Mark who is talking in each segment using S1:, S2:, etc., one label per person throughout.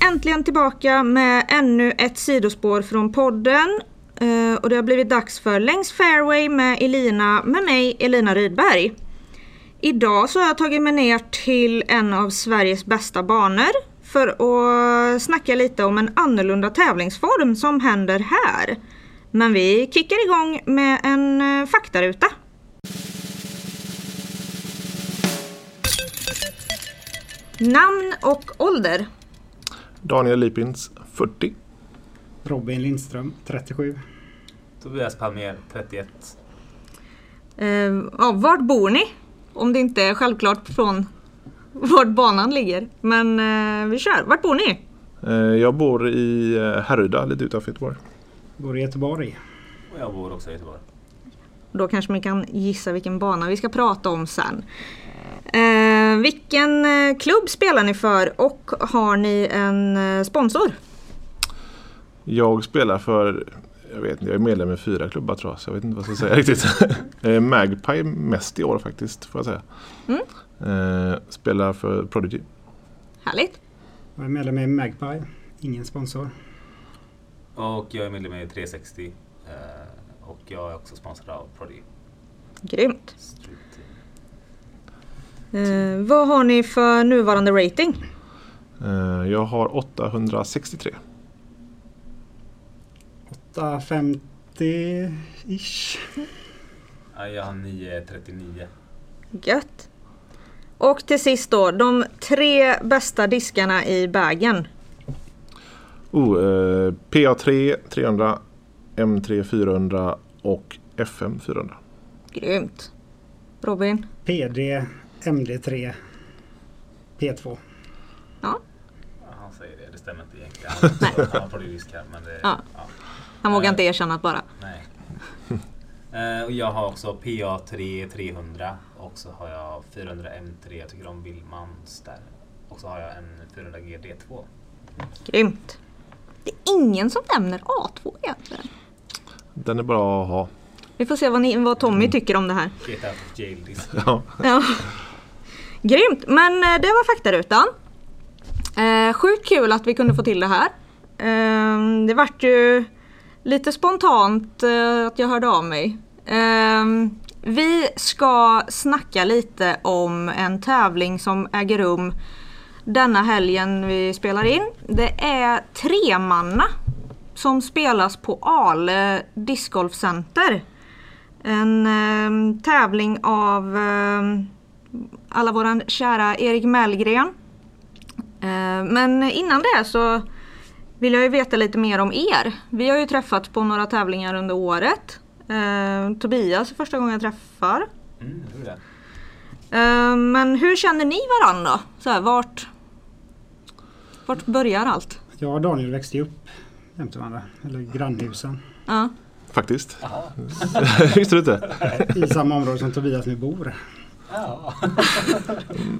S1: äntligen tillbaka med ännu ett sidospår från podden. Eh, Och det har blivit dags för Längs fairway med Elina, med mig Elina Rydberg. Idag så har jag tagit mig ner till en av Sveriges bästa banor för att snacka lite om en annorlunda tävlingsform som händer här. Men vi kickar igång med en eh, faktaruta. Namn och ålder.
S2: Daniel Lipins 40.
S3: Robin Lindström, 37.
S4: Tobias Palmér, 31.
S1: Eh, ja, vart bor ni? Om det inte är självklart från vart banan ligger. Men eh, vi kör. Vart bor ni?
S2: Eh, Jag bor i eh, Härryda, lite utanför Göteborg.
S3: Bor i Göteborg.
S4: Och jag bor också i Göteborg.
S1: Då kanske man kan gissa vilken bana vi ska prata om sen. Eh, vilken eh, klubb spelar ni för och har ni en eh, sponsor?
S2: Jag spelar för, jag vet inte, jag är medlem i fyra klubbar tror jag, så jag vet inte vad jag ska säga riktigt. Eh, Magpie mest i år faktiskt, får jag säga.
S1: Mm.
S2: Eh, Spelar för Prodigy.
S1: Härligt!
S3: Jag är medlem i Magpie. Ingen sponsor.
S4: Och jag är medlem i 360. eh, Och jag är också sponsrad av Prodigy
S1: Grymt!
S4: Street.
S1: Eh, vad har ni för nuvarande rating?
S2: Eh, Jag har 863.
S3: 850-ish.
S4: Ja, Jag har 939.
S1: Gött! Och till sist då, de tre bästa diskarna i bagen.
S2: Oh, eh, PA3 300, M3 400 och FM 400.
S1: Grymt! Robin?
S3: PD, MD3, P2.
S4: Ja, Han säger det, det stämmer inte egentligen. Han är också- han har Prodigy här men det...
S1: Ja.
S4: ja,
S1: Han vågar inte erkänna att bara.
S4: nej. Eh, Och jag har också PA3 300 och så har jag 400 M3. Jag tycker om Billmans där. Och så har jag en 400 GD2.
S1: Grymt! Det är ingen som nämner A2 egentligen.
S2: Den är bra att ha.
S1: Vi får se vad, ni, vad Tommy tycker om det här.
S4: Get out of jail disk.
S2: Ja.
S1: Ja. Grymt, men eh, det var faktarutan. Eh, sjukt kul att vi kunde få till det här. Ehm, det vart ju lite spontant eh, att jag hörde av mig. Ehm, vi ska snacka lite om en tävling som äger rum denna helgen vi spelar in. Det är Tremanna som spelas på Ale discgolfcenter. En ehm, tävling av ehm, alla våran kära Erik Mellgren. Eh, men innan det så vill jag ju veta lite mer om er. Vi har ju träffats på några tävlingar under året. Eh, Tobias är första gången jag träffar.
S4: Mm, hur är det?
S1: Eh, men hur känner ni varandra? Så här, vart, vart börjar allt?
S3: Jag och Daniel växte ju upp jämte varandra. Eller grannhusen.
S1: Ja.
S2: Faktiskt.
S4: Jaha.
S2: Visste du inte?
S3: I samma område som Tobias nu bor.
S4: Ja.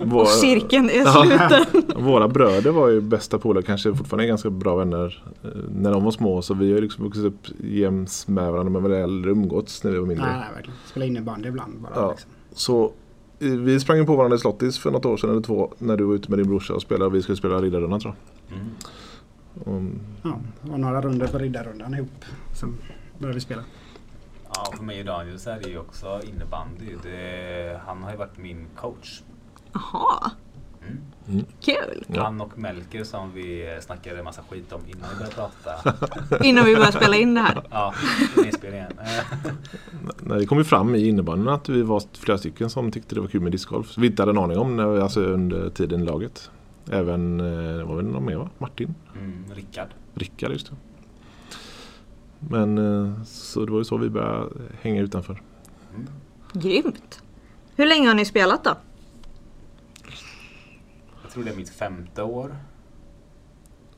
S2: Vår-
S1: Och cirkeln är
S2: eh, Ja.
S1: sluten.
S2: Våra bröder var ju bästa polare, kanske fortfarande är ganska bra vänner eh, när de var små. Så vi har ju liksom vuxit upp jäms med varandra men väl aldrig umgåtts när vi var mindre.
S3: Nej, nej, verkligen. Spelar innebandy ibland bara.
S2: Ja.
S3: Liksom.
S2: Så eh, vi sprang ju på varandra i Slottis för något år sedan eller två när du var ute med din brorsa och spelade och vi skulle spela Riddarrundan tror
S4: Mm.
S2: jag. Och,
S3: Ja, och några runder på Riddarrundan ihop. Sen började vi spela.
S4: Ja, för mig och Daniel så är det ju också innebandy. Det, han har ju varit min coach.
S1: Jaha,
S4: Mm.
S1: kul.
S2: Ja.
S4: Han och Melker som vi snackade en massa skit om innan vi började prata.
S1: Innan vi börjar spela in det här.
S4: Ja, innan inspelningen. Eh,
S2: när det kom ju fram i innebandyn att vi var flera stycken som tyckte det var kul med discgolf. Så Vi inte hade en aning om när vi, alltså under tiden i laget. Även, eh, det var väl någon mer va? Martin?
S4: Mm, Rickard.
S2: Rickard just det. Men eh, så det var ju så vi började hänga utanför.
S1: Grymt. Hur länge har ni spelat då?
S4: Jag tror det är mitt femte år.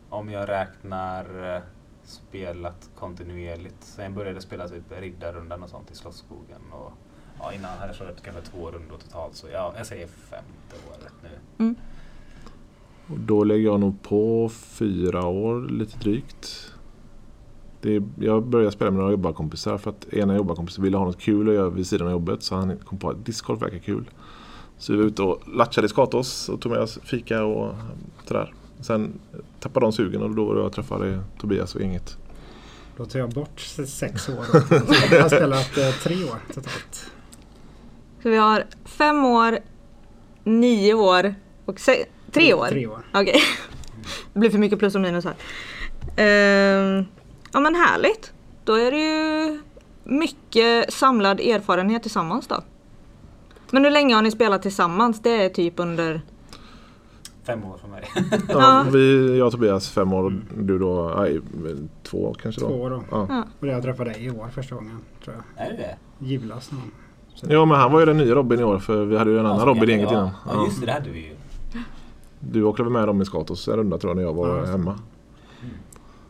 S4: Om jag räknar eh, spelat kontinuerligt. Sen jag började spela typ Riddarrundan och sånt i Slottsskogen. Och, ja, innan hade jag kört kanske två rundor totalt. Så ja, jag säger femte året nu.
S2: Och då lägger jag nog på fyra år lite drygt. Det, jag började spela med några jobbarkompisar för att ena jobbarkompisen ville ha något kul att göra vid sidan av jobbet så han kom på att discgolf verkar kul. Så vi var ute och latchade i Skatås och tog med oss fika och sådär. Sen tappade de sugen och då var det jag träffade Tobias och inget.
S3: Då tar jag bort se- sex år. Jag har spelat eh, tre år totalt.
S1: Så vi har fem år, nio år och se- tre år.
S3: Tre år.
S1: Okej. Det blir för mycket plus och minus här. Ehm, ja men härligt. Då är det ju mycket samlad erfarenhet tillsammans då. Men hur länge har ni spelat tillsammans? Det är typ under...
S4: Fem år för mig.
S1: Ja.
S2: Ja, vi, jag och Tobias fem år och du då nej, två kanske då?
S3: Två år då.
S2: Ja.
S3: Och jag träffade dig i år första gången. Tror jag.
S4: är det det?
S3: Julas någon.
S2: ja men han var ju den nya Robin i år för vi hade ju en annan
S4: Ja, så
S2: Robin
S4: kan
S2: i
S4: det
S2: eget
S4: vara.
S2: innan.
S4: Ja,
S2: Ja.
S4: just det. Det hade vi ju.
S2: Du åkte väl med dem i Skatos en runda tror jag när jag var
S3: Ja.
S2: hemma.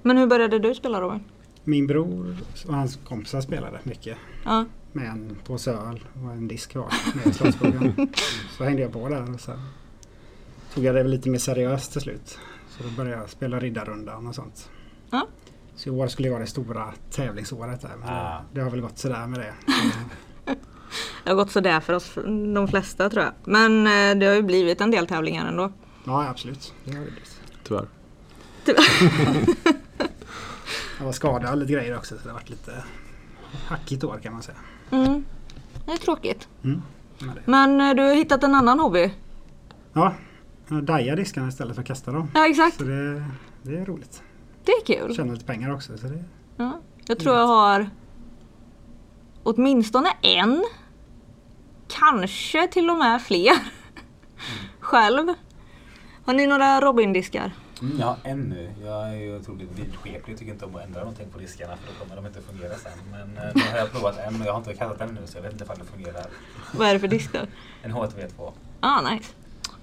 S1: Men hur började du spela Robin?
S3: Min bror och hans kompisar spelade mycket.
S1: Ja.
S3: Med en påse öl och en disk kvar nere i Slottsskogen. Så hängde jag på där och sen tog jag det lite mer seriöst till slut. Så då började jag spela Riddarrundan och sånt.
S1: Ja.
S3: Så i år skulle ju vara det stora tävlingsåret där. Men
S4: Ah.
S3: det, det har väl gått sådär med det.
S1: Det har gått sådär för oss, de flesta tror jag. Men eh, det har ju blivit en del tävlingar ändå.
S3: Ja absolut, det har det blivit.
S2: Tyvärr.
S3: Jag var skadad och lite grejer också så det har varit lite hackigt år kan man säga.
S1: Mm. Det är tråkigt.
S3: Men det-
S1: Men eh, du har hittat en annan hobby.
S3: Ja, jag dajar diskarna istället för att kasta dem.
S1: Ja exakt,
S3: Så det, det är roligt.
S1: det är kul.
S3: Tjänar lite pengar också. Så det,
S1: Ja. Jag tror jag har åtminstone en, kanske till och med fler, själv. Har ni några Robin-diskar?
S4: Mm, jag har en nu. Jag är ju otroligt vidskeplig. Tycker inte om att ändra någonting på diskarna för då kommer de inte fungera sen. Men eh, nu har jag provat en och jag har inte kastat den nu så jag vet inte ifall det fungerar.
S1: Vad är det för disk då?
S4: En HTV2.
S1: Ah, nice.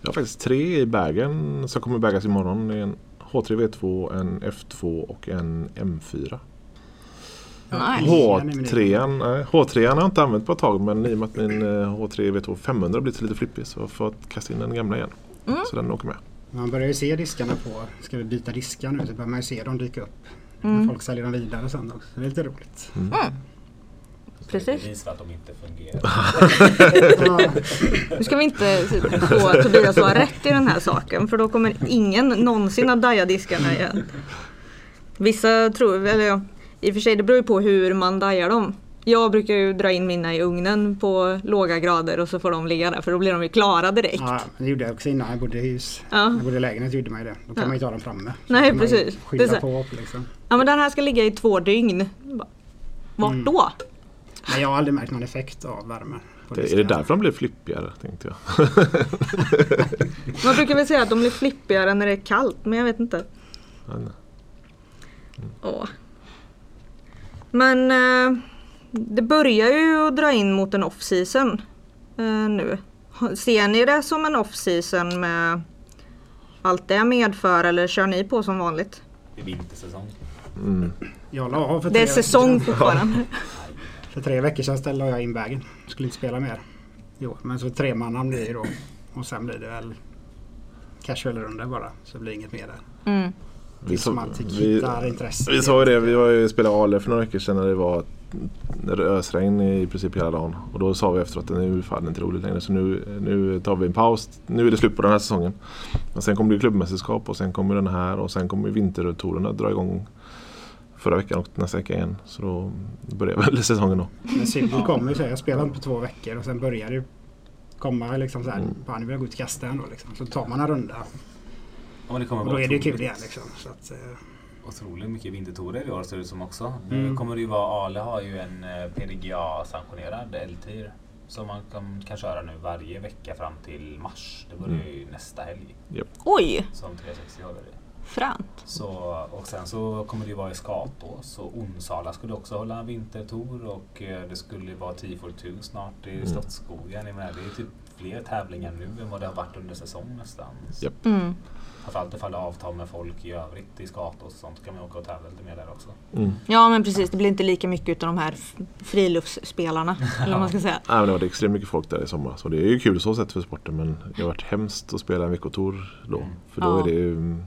S2: Jag har faktiskt tre i bagen som kommer bagas imorgon. Det är en H3V2, en F2 och en M4.
S1: nice.
S2: H3, nej, H3 har jag inte använt på ett tag men i och med att min eh, H3V2 500 har blivit lite flippig så har jag fått kasta in den gamla igen. Så den åker med.
S3: Man börjar ju se diskarna på, ska vi byta diskar nu? Så börjar man ju se dem dyka upp.
S1: Mm.
S3: När folk säljer dem vidare sen också. Så det är lite roligt.
S2: Mm.
S4: Så det
S1: Precis.
S4: bevisar att de inte fungerar.
S3: Ja,
S1: Nu ska vi inte få Tobias att ha rätt i den här saken för då kommer ingen någonsin att daja diskarna igen. Vissa tror, eller ja, i och för sig det beror ju på hur man dajar dem. Jag brukar ju dra in mina i ugnen på låga grader och så får de ligga där för då blir de ju klara direkt.
S3: ja, det gjorde jag också innan jag bodde i hus.
S1: Ja.
S3: När jag bodde i lägenhet gjorde man ju det. Då kan man ju ta dem framme. Så
S1: Nej,
S3: kan man ju
S1: precis. Det är så
S3: Skylla
S1: här-
S3: på liksom.
S1: Ja men den här ska ligga i två dygn. Bara, Vart då?
S3: Men jag har aldrig märkt någon effekt av värme. På
S2: Det, är det
S3: diskarna.
S2: därför de blir flippigare tänkte jag.
S1: Man brukar väl säga att de blir flippigare när det är kallt men jag vet inte.
S2: Men,
S1: Åh. Men eh, det börjar ju att dra in mot en off-season eh, nu. Ha- Ser ni det som en off-season med allt det medför eller kör ni på som vanligt?
S4: Det är vintersäsong.
S2: mm.
S3: Jag la av för
S1: Det är
S3: tre-
S1: säsong fortfarande.
S3: För tre veckor sedan ställde jag in vägen. Skulle inte spela mer. Jo, men så tre man blir det ju då. Och sen blir det väl casual-runda bara. Så blir det inget mer där.
S1: Mm.
S3: Vi
S2: Vi,
S3: som
S2: så,
S3: alltid
S2: vi,
S3: hittar intresse.
S2: vi sa ju det, vi var ju spelade Ale för några veckor sedan när det var ösregn i princip hela dagen. Och då sa vi efteråt att nu är fan inte roligt längre så nu, nu tar vi en paus. Nu är det slut på den här säsongen. Men sen kommer det ju klubbmästerskap och sen kommer den här och sen kommer vinterturerna att dra igång förra veckan och nästa vecka igen. Så då börjar väl säsongen då.
S3: Men Silver kommer ju så här, jag spelar inte på två veckor och sen börjar det komma liksom så här,
S2: Mm.
S3: fan nu vill jag gå ut och kasta ändå liksom. Så tar man en runda
S4: Ja, men det kommer
S3: och
S4: vara
S3: då är det ju kul
S4: otroligt-
S3: igen liksom. Så att, eh,
S4: Otroligt mycket vintertorer i år ser det ut som också. Nu
S3: Mm.
S4: kommer det ju vara, Ale har ju en eh, PDGA-sanktionerad LTIR. Som man kan, kan köra nu varje vecka fram till mars. Det börjar ju
S3: Mm.
S4: nästa helg
S1: Oj,
S4: som 360 håller i.
S1: fränt.
S4: Så, och sen så kommer det ju vara i Skatås och Onsala skulle också hålla en vintertour och eh, det skulle vara T42 snart i Slottsskogen. Jag menar, det är ju typ fler tävlingar nu än vad det har varit under säsong nästan. Så
S2: Japp.
S1: Mm.
S4: Framförallt ifall det är avtal med folk i övrigt i Skatås och sånt så kan man åka och tävla lite mer där också.
S2: Mm.
S1: Ja men precis, det blir inte lika mycket utav de här f- friluftsspelarna. Eller vad man ska säga.
S2: Nej, men det har varit extremt mycket folk där i sommar så det är ju kul så sett för sporten men det har varit hemskt att spela en veckotour då. För då
S1: Ja.
S2: är det ju mm,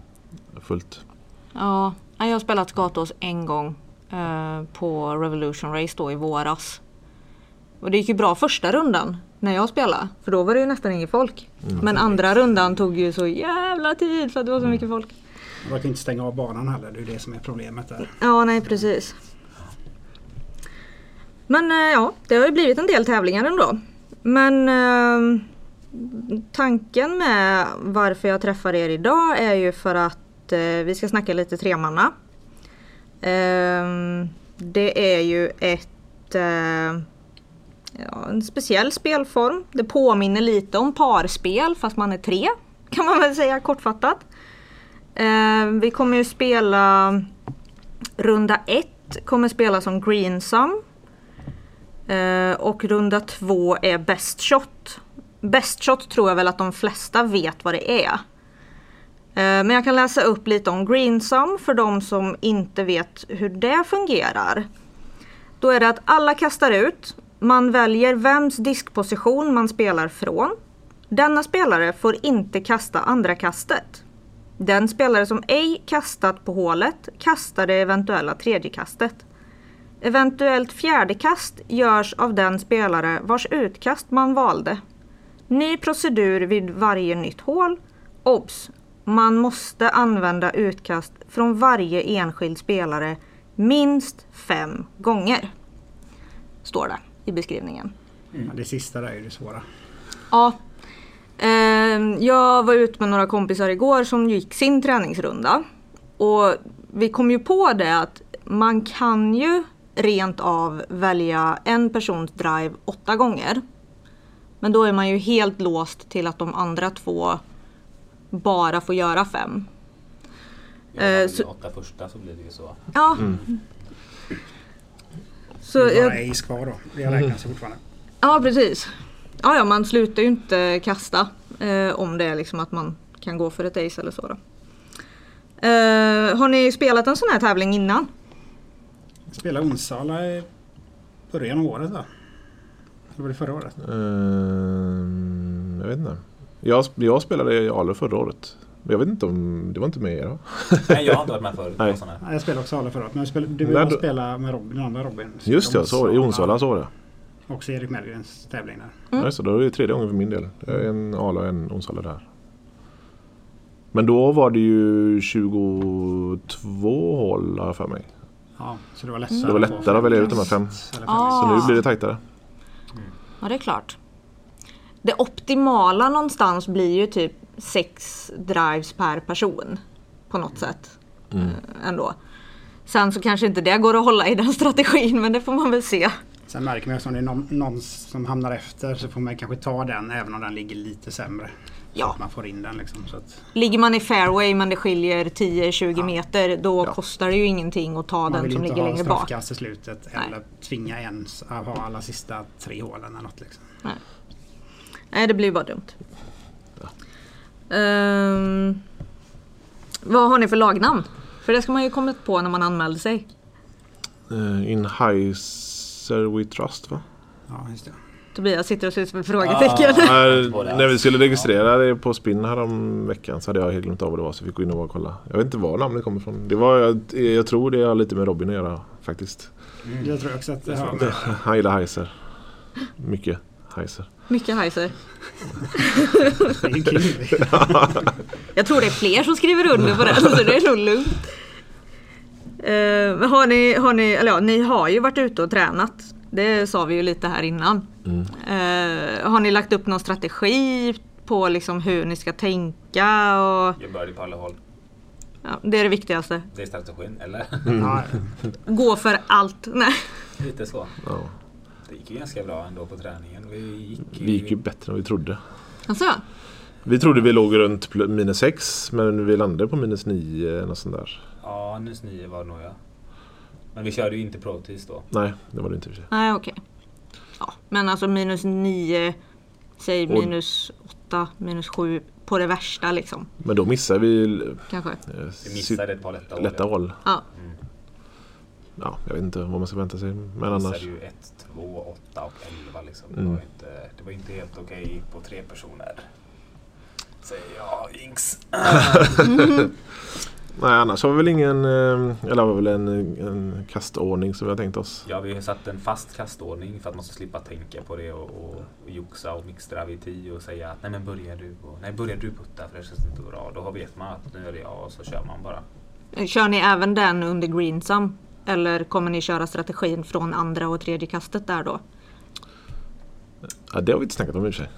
S2: fullt.
S1: Ja, jag har spelat Skatås en gång eh, på Revolution Race då i våras. Och det gick ju bra första rundan. när jag spelade. För då var det ju nästan inget folk.
S2: Mm.
S1: Men andra rundan tog ju så jävla tid för att det var så mycket folk.
S3: Man verkar inte stänga av banan heller. Det är ju det som är problemet där.
S1: Ja, nej precis. Men eh, ja, det har ju blivit en del tävlingar ändå. Men eh, tanken med varför jag träffar er idag är ju för att eh, vi ska snacka lite tremanna. Ehm, det är ju ett, eh, ja, en speciell spelform. Det påminner lite om parspel fast man är tre kan man väl säga kortfattat. Ehm, vi kommer ju spela Runda 1 kommer spela som Greensum. Eh, och runda 2 är Best Shot. Best Shot tror jag väl att de flesta vet vad det är. Eh, men jag kan läsa upp lite om Greensum för de som inte vet hur det fungerar. Då är det att alla kastar ut. Man väljer vems diskposition man spelar från. Denna spelare får inte kasta andra kastet. Den spelare som ej kastat på hålet kastar det eventuella tredje kastet. Eventuellt fjärde kast görs av den spelare vars utkast man valde. Ny procedur vid varje nytt hål. Obs! Man måste använda utkast från varje enskild spelare minst fem gånger. Står det i beskrivningen. Mm.
S3: Ja, det sista där är ju det svåra.
S1: Ja. Ehm, Jag var ute med några kompisar igår som gick sin träningsrunda. Och vi kom ju på det att man kan ju rent av välja en persons drive åtta gånger. Men då är man ju helt låst till att de andra två bara får göra fem. Eh,
S4: Jag
S1: så-
S4: så... åtta första så blir det ju så.
S1: Ja. Så
S3: det är
S1: jag,
S3: bara Ace kvar då. Det räknas ju fortfarande.
S1: Ja, precis. Ja, ja, man slutar ju inte kasta eh, om det är liksom att man kan gå för ett ace eller så. Då. Eh, har ni spelat en sån här tävling innan?
S3: Jag spelade Onsala i början av året va? Eller var det förra året?
S2: Ehm, jag vet inte. Jag, jag spelade i Ale förra året. Men Jag vet inte om... Det var inte med er va?
S4: Nej, jag har inte varit med förut.
S2: Nej.
S4: på sån här.
S3: Nej, jag spelade också Ala förra året. Men jag spelade, du
S2: Nej,
S3: ville
S2: då-
S3: spela med Robin, den andra Robin.
S2: Just det,
S3: Spelade
S2: jag såg det. I Onsala så var det.
S3: Också Erik Mellgrens tävling där.
S1: Mm.
S2: Ja, just det, då är det tredje gången för min del. Det är En Ala och en Onsala där. Men då var det ju 22 hål har jag för mig.
S3: Ja, så det var lättare.
S2: Mm. Det var
S3: att få
S2: lättare
S3: fem
S2: att välja ut de här
S3: kast,
S2: fem.
S3: eller fem
S1: Ah.
S2: Så nu blir det tajtare.
S1: Ja, det är klart. Det optimala någonstans blir ju typ sex drives per person på något sätt.
S3: Mm.
S1: Eh, ändå. Sen så kanske inte det går att hålla i den strategin, men det får man väl se.
S3: Sen märker man ju att om det är någon, någon som hamnar efter så får man kanske ta den även om den ligger lite sämre. Så
S1: Ja,
S3: att man får in den liksom. Så att
S1: ligger man i fairway men det skiljer 10-20 meter, då
S2: Ja.
S1: kostar det ju ingenting att ta
S3: man
S1: den
S3: vill
S1: som
S3: inte
S1: ligger
S3: ha
S1: längre bak.
S3: straffkast i slutet
S1: Nej.
S3: eller tvinga en att ha alla sista tre hålen eller något liksom.
S1: Nej, det blir bara dumt. Ehm, vad har ni för lagnamn? För det ska man ju kommit på när man anmälde sig.
S2: Eh, In Heiser We Trust va?
S3: Ja, just det.
S1: Tobias sitter och ser ut som ett frågetecken.
S4: Ah.
S2: När,
S4: Båda.
S2: när vi skulle registrera det på Spin här om veckan så hade jag helt glömt av vad det var så jag fick gå in och bara kolla. Jag vet inte var namnet kommer ifrån. Det var, jag, jag tror det har lite med Robin att göra faktiskt.
S3: Jag tror också att Mm. det har med
S2: Han gillar Heiser. Mycket Heiser.
S1: Mycket Heiser.
S3: det är ju kul.
S1: Jag tror det är fler som skriver under på den så det är nog lugnt. Ehm, men har ni, har ni, eller ja, ni har ju varit ute och tränat. Det sa vi ju lite här innan. Ehm, har ni lagt upp någon strategi på liksom hur ni ska tänka? Och,
S4: Jag började på alla håll.
S1: ja, det är det viktigaste.
S4: Det är strategin, eller?
S2: Mm.
S3: Ja,
S1: Gå för allt. Nej.
S4: Lite så.
S2: Ja.
S4: Det gick ju ganska bra ändå på träningen. Vi gick ju...
S2: Vi gick ju bättre än vi trodde.
S1: Alltså,
S2: Vi trodde vi låg runt pl- minus 6 men vi landade på minus 9 något sånt där.
S4: Ja, minus nio var det nog jag. Men vi körde ju inte protis då.
S2: Nej, det var det inte. i och för sig.
S1: nej okej. Ja, men alltså minus 9, säg
S2: Och-
S1: minus 8, minus 7 på det värsta liksom.
S2: Men då missade vi
S1: Kanske.
S2: eh,
S4: Vi
S2: sitt
S4: missade ett par lätta hål.
S2: lätta håll.
S1: Ja.
S2: Ja, jag vet inte vad man ska vänta sig. Men
S4: Vi
S2: annars.
S4: missade ju 1, 2, 8 och 11 liksom. Det,
S2: Mm.
S4: var inte, det var inte helt okej på tre personer. Säger jag, jinx.
S2: Nej, annars har vi väl ingen... eh, Eller har vi väl en, en kastordning som vi har tänkt oss.
S4: Ja, vi har satt en fast kastordning för att man ska slippa tänka på det och, och, och joxa och mixtra vid tio och säga att nej men börjar du? Och, nej, börjar du putta för det känns inte bra. Då har- vet man att nu är det jag och så kör man bara.
S1: Kör ni även den under greensum? Eller kommer ni köra strategin från andra och tredje kastet där då?
S2: Ja, det har vi inte snackat om i och för sig.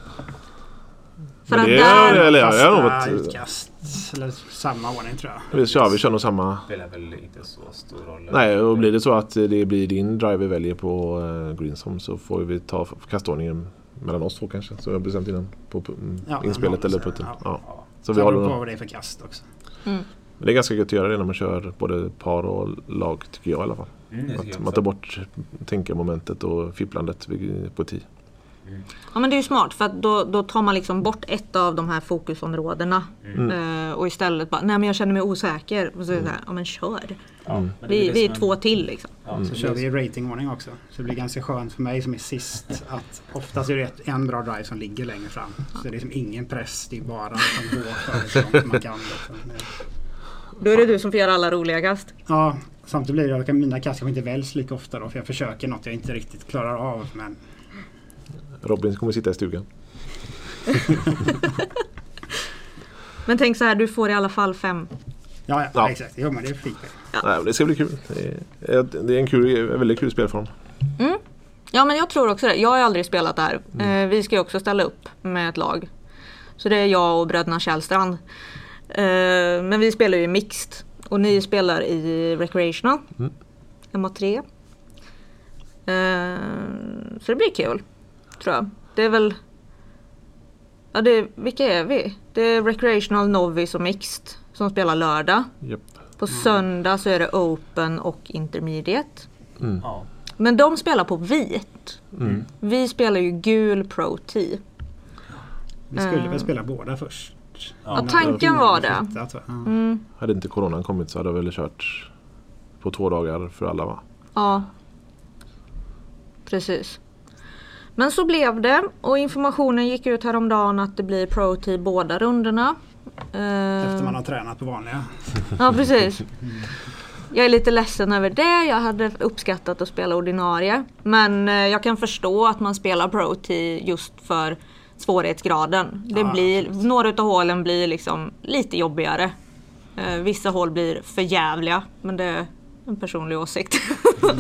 S1: För
S2: Men
S1: att
S2: det
S1: där-
S2: är, eller, ja, det har nog
S3: Fasta
S2: varit-
S3: utkast. Eller samma ordning tror jag.
S2: Vi kör, vi kör nog samma.
S4: Spelar väl inte så stor roll.
S2: Nej, och blir det så att det blir din drive vi väljer på eh, Greensom så får vi ta f- kastordningen mellan oss två kanske. Så vi har bestämt innan på pu- mm,
S3: Ja,
S2: inspelet
S3: men-
S2: eller putten.
S3: ja.
S2: Ja.
S4: Ja.
S2: Så vi
S3: Det beror
S2: håller
S3: på
S2: den.
S3: vad det är för kast också.
S2: Men Det är ganska gött att göra det när man kör både par och lag tycker jag i alla fall.
S4: Mm, det tycker
S2: Att
S4: jag
S2: man
S4: också.
S2: tar bort tänkamomentet och fipplandet vid- på 10.
S1: Ja men det är ju smart för att då, då tar man liksom bort ett av de här fokusområdena.
S4: Mm.
S1: Eh, och istället bara, nej men jag känner mig osäker. Och så är det så här, ja men kör.
S4: Ja,
S2: Mm.
S4: men det
S1: Vi,
S4: blir
S1: vi
S4: som
S1: är
S4: en-
S1: två till liksom.
S4: Ja, så
S3: Så
S4: det
S3: kör vi
S4: blir-
S3: i ratingordning också. Så det blir ganska skönt för mig som är sist att oftast är det ett, en bra drive som ligger längre fram. Så det är liksom ingen press, det är bara att man går för det så långt man kan. Liksom.
S1: Då är det du som får göra alla roliga kast.
S3: Ja, samtidigt blir det att mina kast kanske inte väljs lika ofta då för jag försöker något jag inte riktigt klarar av. Men
S2: Robin kommer sitta i stugan.
S1: Men tänk så här, du får i alla fall fem.
S3: ja, ja,
S2: Ja.
S3: exakt. Jo, men det är fint.
S1: Ja.
S2: Nej, men det ska bli kul. Det är, det är en, kul, en väldigt kul spelform.
S1: Ja men jag tror också det. Jag har ju aldrig spelat där. Eh, vi ska ju också ställa upp med ett lag. Så det är jag och bröderna Källstrand. Eh, men vi spelar ju mixed. Och ni spelar i recreational.
S2: Mm.
S1: MA3. Eh, så det blir kul. Tror jag. Det är väl... Ja, det, vilka är vi? Det är recreational, novice och mixed. Som spelar lördag.
S2: Japp.
S1: På söndag så är det open och intermediate.
S4: Ja.
S1: Men de spelar på vit.
S2: Mm.
S1: Vi spelar ju gul Pro T.
S3: Vi skulle
S1: Eh.
S3: väl spela båda först.
S4: Ja,
S3: Innan-
S1: tanken var det. Mm.
S3: innan vi flyttat, va? Ja.
S2: Hade inte coronan kommit så hade jag väl kört på två dagar för alla va?
S1: Ja. Precis. Men så blev det och informationen gick ut häromdagen att det blir Pro T båda rundorna. Eh,
S3: Efter man har tränat på vanliga.
S1: Ja precis. Jag är lite ledsen över det. Jag hade uppskattat att spela ordinarie. Men eh, jag kan förstå att man spelar Pro T just för svårighetsgraden. Det
S3: Ja,
S1: blir, några av hålen blir liksom lite jobbigare. Eh, Vissa hål blir för jävliga. Men det är en personlig åsikt.
S2: Nej,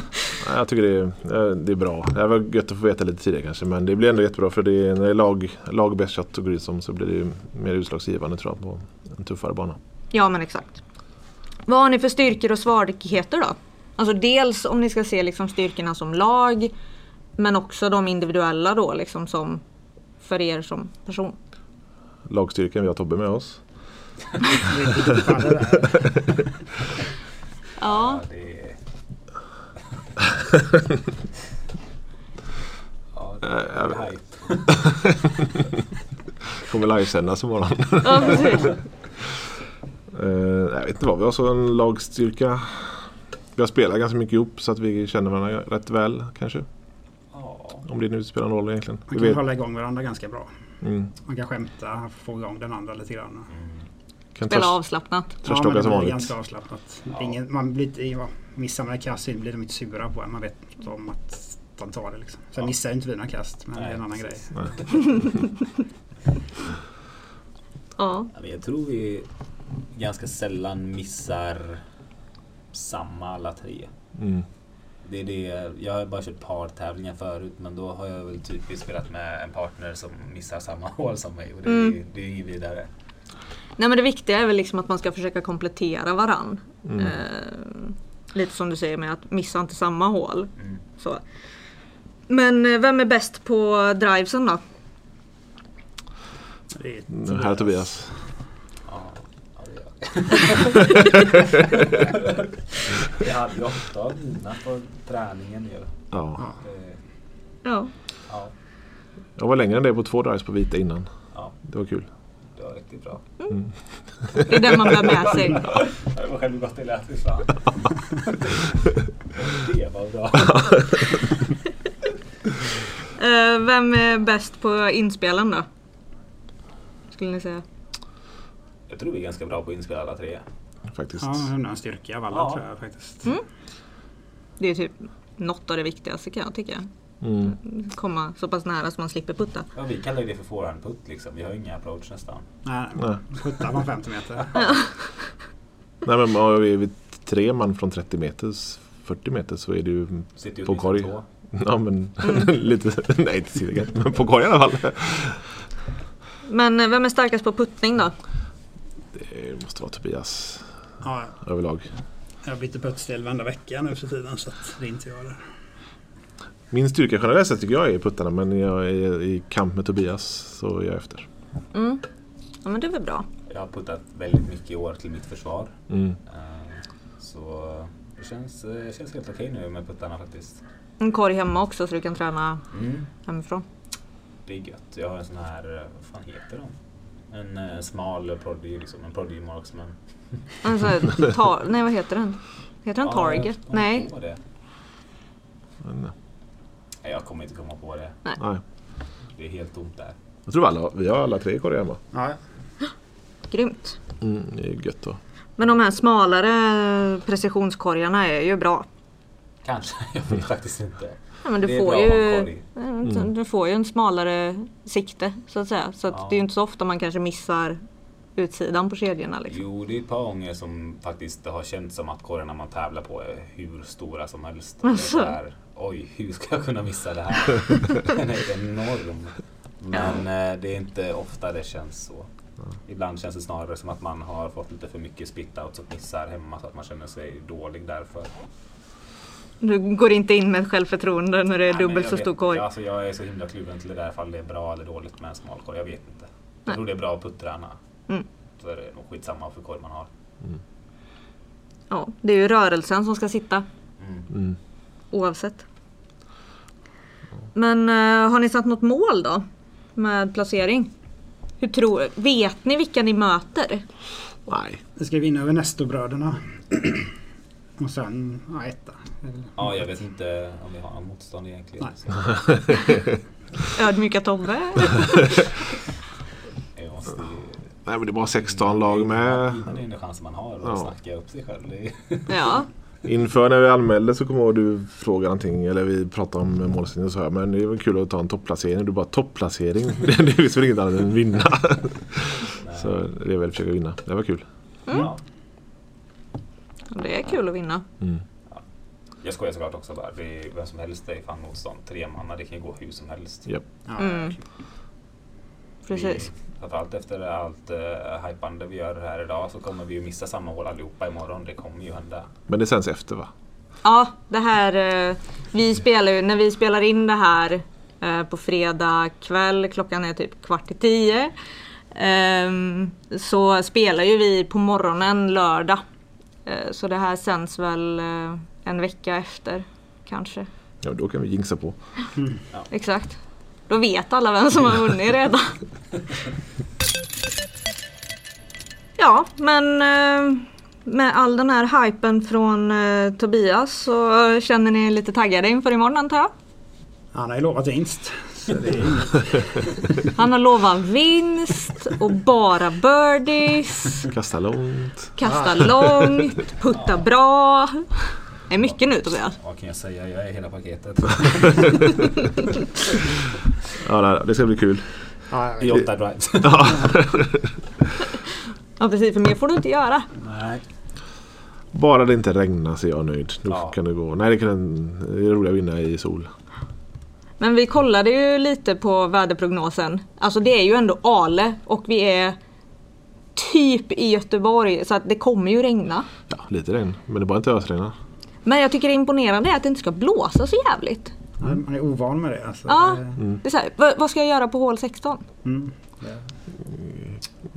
S2: Jag tycker det är, eh, det är bra. Det var gött att få veta lite tidigare kanske men det blir ändå jättebra för det är, när det är lag, lag bäst shot och grisom så blir det ju mer utslagsgivande tror jag på en tuffare bana.
S1: Ja men exakt. Vad har ni för styrkor och svagheter då? Alltså dels om ni ska se liksom styrkorna som lag. Men också de individuella då liksom som för er som person.
S2: Lagstyrkan, vi har Tobbe med oss.
S3: Det är lite faller där.
S1: Ja.
S4: Ja, det är... ja, det är hype.
S2: Kommer livesändas imorgon.
S1: Ja, precis.
S2: Eh, jag vet inte vad, vi har så en lagstyrka. Vi har spelat ganska mycket ihop så att vi känner varandra rätt väl kanske.
S4: Ja.
S2: Om det nu spelar någon roll egentligen. Vi
S3: Man kan
S2: vet-
S3: hålla igång varandra ganska bra.
S2: mm,
S3: Man kan skämta, få igång den andra lite grann.
S1: Spela
S2: kan tröst-
S1: avslappnat.
S2: Trash
S3: men
S2: talkar
S3: det
S2: som
S3: blir
S2: vanligt.
S3: ganska avslappnat. Ingen, man blir inte, ja, missar man ett kast så blir de inte sura på en. Man vet om att de tar det. Liksom. Sen
S4: Ja.
S3: missar inte vi några kast, men det är en
S4: Nej,
S3: annan grej.
S4: precis.
S1: Ja.
S4: Ja, men Jag tror vi ganska sällan missar samma alla tre.
S2: Mm.
S4: Det är det, jag har bara kört partävlingar förut men då har jag väl typiskt spelat med en partner som missar samma hål som mig och det, är det är inget vidare.
S1: Nej men det viktiga är väl liksom att man ska försöka komplettera varann. Eh, lite som du säger med att missa inte samma hål.
S4: Mm.
S1: Så. Men eh, vem är bäst på drivesen då?
S3: Det är
S2: Mm, Här är Tobias.
S4: Ja, ja, det gör jag. jag hade ju åtta av mina på träningen ju.
S2: Ja.
S4: Det-
S1: Ja.
S4: Ja,
S2: Jag var längre än dig på två drives på vita innan.
S4: ja,
S2: Det var kul.
S4: det var riktigt bra.
S1: Det är den man bär med sig.
S4: Jag var själv gott det lät fy fan. Det var bra.
S1: Eh, vem är bäst på inspelen då? Skulle ni säga.
S4: Jag tror vi är ganska bra på att inspela alla tre.
S2: faktiskt.
S3: Ja, han lämnade en styrka av alla
S4: Ja.
S3: tror jag faktiskt.
S1: Mm. Det är typ något av det viktigaste kan jag tycka.
S2: Mm.
S1: Komma så pass nära så man slipper putta.
S4: Ja, vi kallar ju det för forehandputt liksom. Vi har ju inga approach nästan.
S3: Nej,
S2: Nej.
S3: puttar från 50 meter.
S2: Nej, men ja, vi är vi tre man från 30 meters, 40 meter så är det ju
S4: Sitter ju
S2: På
S4: åtminstone
S2: korg.
S4: två.
S2: Ja men
S3: Mm.
S2: lite, nej inte tillräckligt, men på korgen i alla fall.
S1: Men eh, vem är starkast på puttning då?
S2: Det måste vara Tobias
S3: Ja,
S2: överlag.
S3: jag byter puttstil varenda vecka nu för tiden så att det är inte jag där.
S2: Min styrka generellt sett tycker jag är puttarna men jag är i kamp med Tobias så är jag efter.
S1: Mm. Ja men det är väl bra.
S4: Jag har puttat väldigt mycket i år till mitt försvar.
S2: Mm.
S4: Eh, Så det känns, eh, känns helt okej nu med puttarna faktiskt.
S1: En korg hemma också så du kan träna
S4: Mm.
S1: hemifrån.
S4: Det är gött. Jag har en sån här, eh, vad fan heter de? En eh, smal prodigy, liksom. En prodigy marksman.
S1: En sån här tar- Alltså, nej vad heter den? Heter den target?
S4: jag kom
S1: Nej.
S4: på det.
S2: Men,
S4: Nej, Jag kommer inte komma på det.
S2: nej.
S4: Det är helt tomt där.
S2: Jag tror alla, vi har alla tre korgar hemma.
S3: Ja,
S1: Grymt.
S2: Mm, det är gött då.
S1: Men de här smalare eh, precisionskorgarna är ju bra.
S4: Kanske, jag vet faktiskt inte.
S1: Ja, men du,
S4: det är
S1: får
S4: bra att ha en
S1: ju,
S4: korg.
S2: Mm.
S1: du får ju en smalare sikte så att säga. Så att
S4: Ja.
S1: det är ju inte så ofta man kanske missar utsidan på kedjorna. Liksom.
S4: Jo, det är ett par gånger som faktiskt det har känts som att korgarna man tävlar på är hur stora som helst. Det är
S1: Alltså.
S4: så här, Oj, hur ska jag kunna missa det här? Den är enorm. Men eh, det är inte ofta det känns så. Ibland känns det snarare som att man har fått lite för mycket spit-outs och missar hemma så att man känner sig dålig därför.
S1: Du går inte in med ett självförtroende när det är
S4: Nej, men
S1: dubbelt
S4: jag
S1: så
S4: vet
S1: stor
S4: inte.
S1: korg.
S4: Alltså, jag är så himla kluven till det där ifall det är bra eller dåligt med en smal korg. Jag vet inte. Jag
S1: Nej.
S4: tror det är bra att puttrarna.
S1: Mm.
S4: Så är det nog skitsamma för korg man har.
S1: Ja, det är ju rörelsen som ska sitta
S4: Mm.
S2: Mm.
S1: oavsett. Men eh, har ni satt något mål då? Med placering? Hur tror, vet ni vilka ni möter?
S2: Nej.
S3: vi ska vinna över Nestorbröderna. Och sen, ja etta. Det är väl-
S4: Ja, jag vet inte om vi har någon motstånd egentligen.
S3: Nej.
S4: Så,
S1: Ödmjuka Tobbe?
S4: jag måste ju...
S2: nej men det är bara 16 lag
S4: Ja,
S2: med.
S4: Det är den enda chansen man har att
S2: Ja.
S4: snacka upp sig själv. Det är,
S1: ja.
S2: Inför när vi anmälde så kommer jag ihåg du frågade någonting eller vi pratade om målsättningen och så här men det är väl kul att ta en topplacering. Du bara topplacering. det finns väl inget annat än vinna.
S4: Nej.
S2: Så det är väl att försöka vinna. Det var kul.
S4: ja.
S1: Det är kul att vinna.
S2: Mm.
S4: Jag skojar såklart också bara. Det är, vem som helst är fan motstånd. Tre man, det kan ju gå hur som helst.
S2: Japp.
S3: Ja,
S1: Mm. Precis.
S4: Vi- Framförallt efter Mm. allt uh, hypande vi gör här idag så kommer vi ju missa samma hål allihopa imorgon. Det kommer ju hända.
S2: Men det sänds efter va?
S1: Ja, det här. eh, Vi spelar ju, när vi spelar in det här eh, på fredag kväll, klockan är typ kvart i tio. ehm, Så spelar ju vi på morgonen lördag. Eh, Så det här sänds väl eh, en vecka efter kanske.
S2: Ja, då kan vi jinxa på.
S1: Exakt. Då vet alla vem som har vunnit redan. Ja, men eh, med all den här hypen från eh, Tobias så känner ni er lite taggade inför imorgon antar jag?
S3: Han har ju lovat vinst. Så det är inget.
S1: Han har lovat vinst och bara birdies,
S2: Kasta långt.
S1: kasta långt, putta bra. Det är mycket nu Tobias.
S4: Vad kan jag säga? Jag är hela paketet.
S2: Ja, nej, det ska bli kul.
S3: Ja, jag
S4: I
S3: vet.
S4: åtta drives.
S1: Ja precis, för mer får du inte göra.
S4: Nej.
S2: Bara det inte regnar så är jag nöjd. Då
S4: Ja.
S2: kan det gå. Nej, det, kan, det är roligt att vinna i sol.
S1: Men vi kollade ju lite på väderprognosen. Alltså det är ju ändå Ale och vi är typ i Göteborg så att det kommer ju regna.
S2: Ja, lite regn. Men det är bara inte ösregna.
S1: Men jag tycker det imponerande är att det inte ska blåsa så jävligt.
S3: Han han är ovan med det. Alltså.
S1: Ja.
S3: Det-
S1: Det är så här, vad, vad ska jag göra på hål 16?
S3: Mm.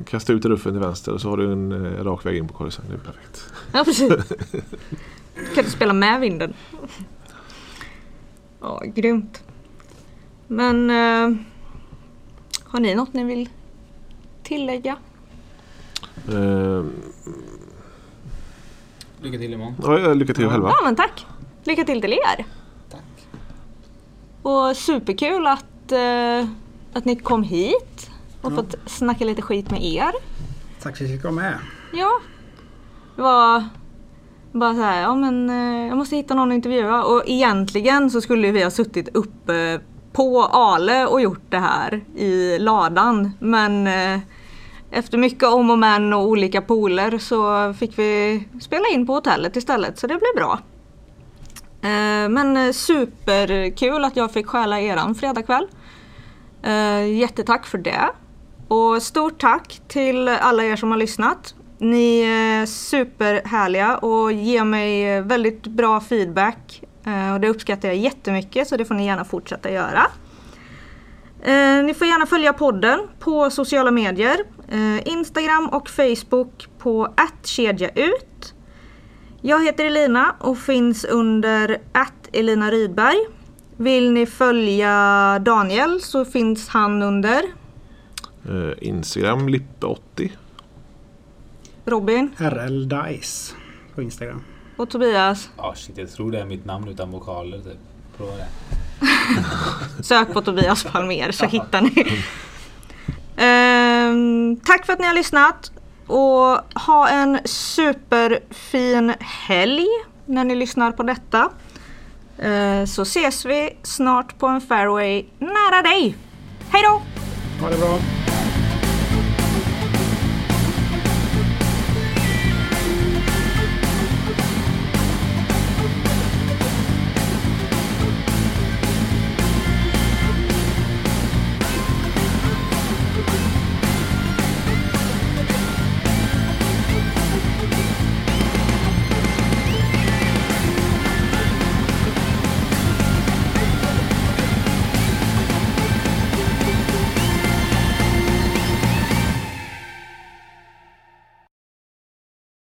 S2: Kasta ut ruffen till vänster och så har du en eh, rak väg in på korgen. Det är perfekt.
S1: Ja precis. kan du spela med vinden? Ja, grymt. Men eh, har ni något ni vill tillägga?
S2: Eh,
S4: Lycka till imorgon.
S2: ja, ja, lycka till själva.
S1: Ja men tack! Lycka till till er!
S4: Tack.
S1: Och superkul att, eh, att ni kom hit och fått snacka lite skit med er.
S3: Tack för att vi fick vara med.
S1: Ja. Det var bara så här, ja men eh, jag måste hitta någon att intervjua. Och egentligen så skulle ju vi ha suttit uppe på Ale och gjort det här i ladan. Men eh, efter mycket om och men och olika poler så fick vi spela in på hotellet istället så det blev bra. Eh, Men eh, superkul att jag fick stjäla eran fredagkväll. Eh, Jättetack för det. Och stort tack till alla er som har lyssnat. Ni är superhärliga och ger mig eh, väldigt bra feedback. Eh, Och det uppskattar jag jättemycket så det får ni gärna fortsätta göra. Eh, Ni får gärna följa podden på sociala medier. Eh, Instagram och Facebook på attkedjaut. Jag heter Elina och finns under att Elina Rydberg. Vill ni följa Daniel så finns han under
S2: Eh, Instagram Lippe80.
S1: Robin
S3: RL Dice på Instagram.
S1: och Tobias.
S4: Ja, shit, jag tror det är mitt namn utan vokaler typ. Prova det.
S1: Sök på Tobias Palmer så hittar ni. Ehm, tack för att ni har lyssnat och ha en superfin helg när ni lyssnar på detta. Ehm, så ses vi snart på en fairway nära dig. Hej då!
S3: Ha det bra!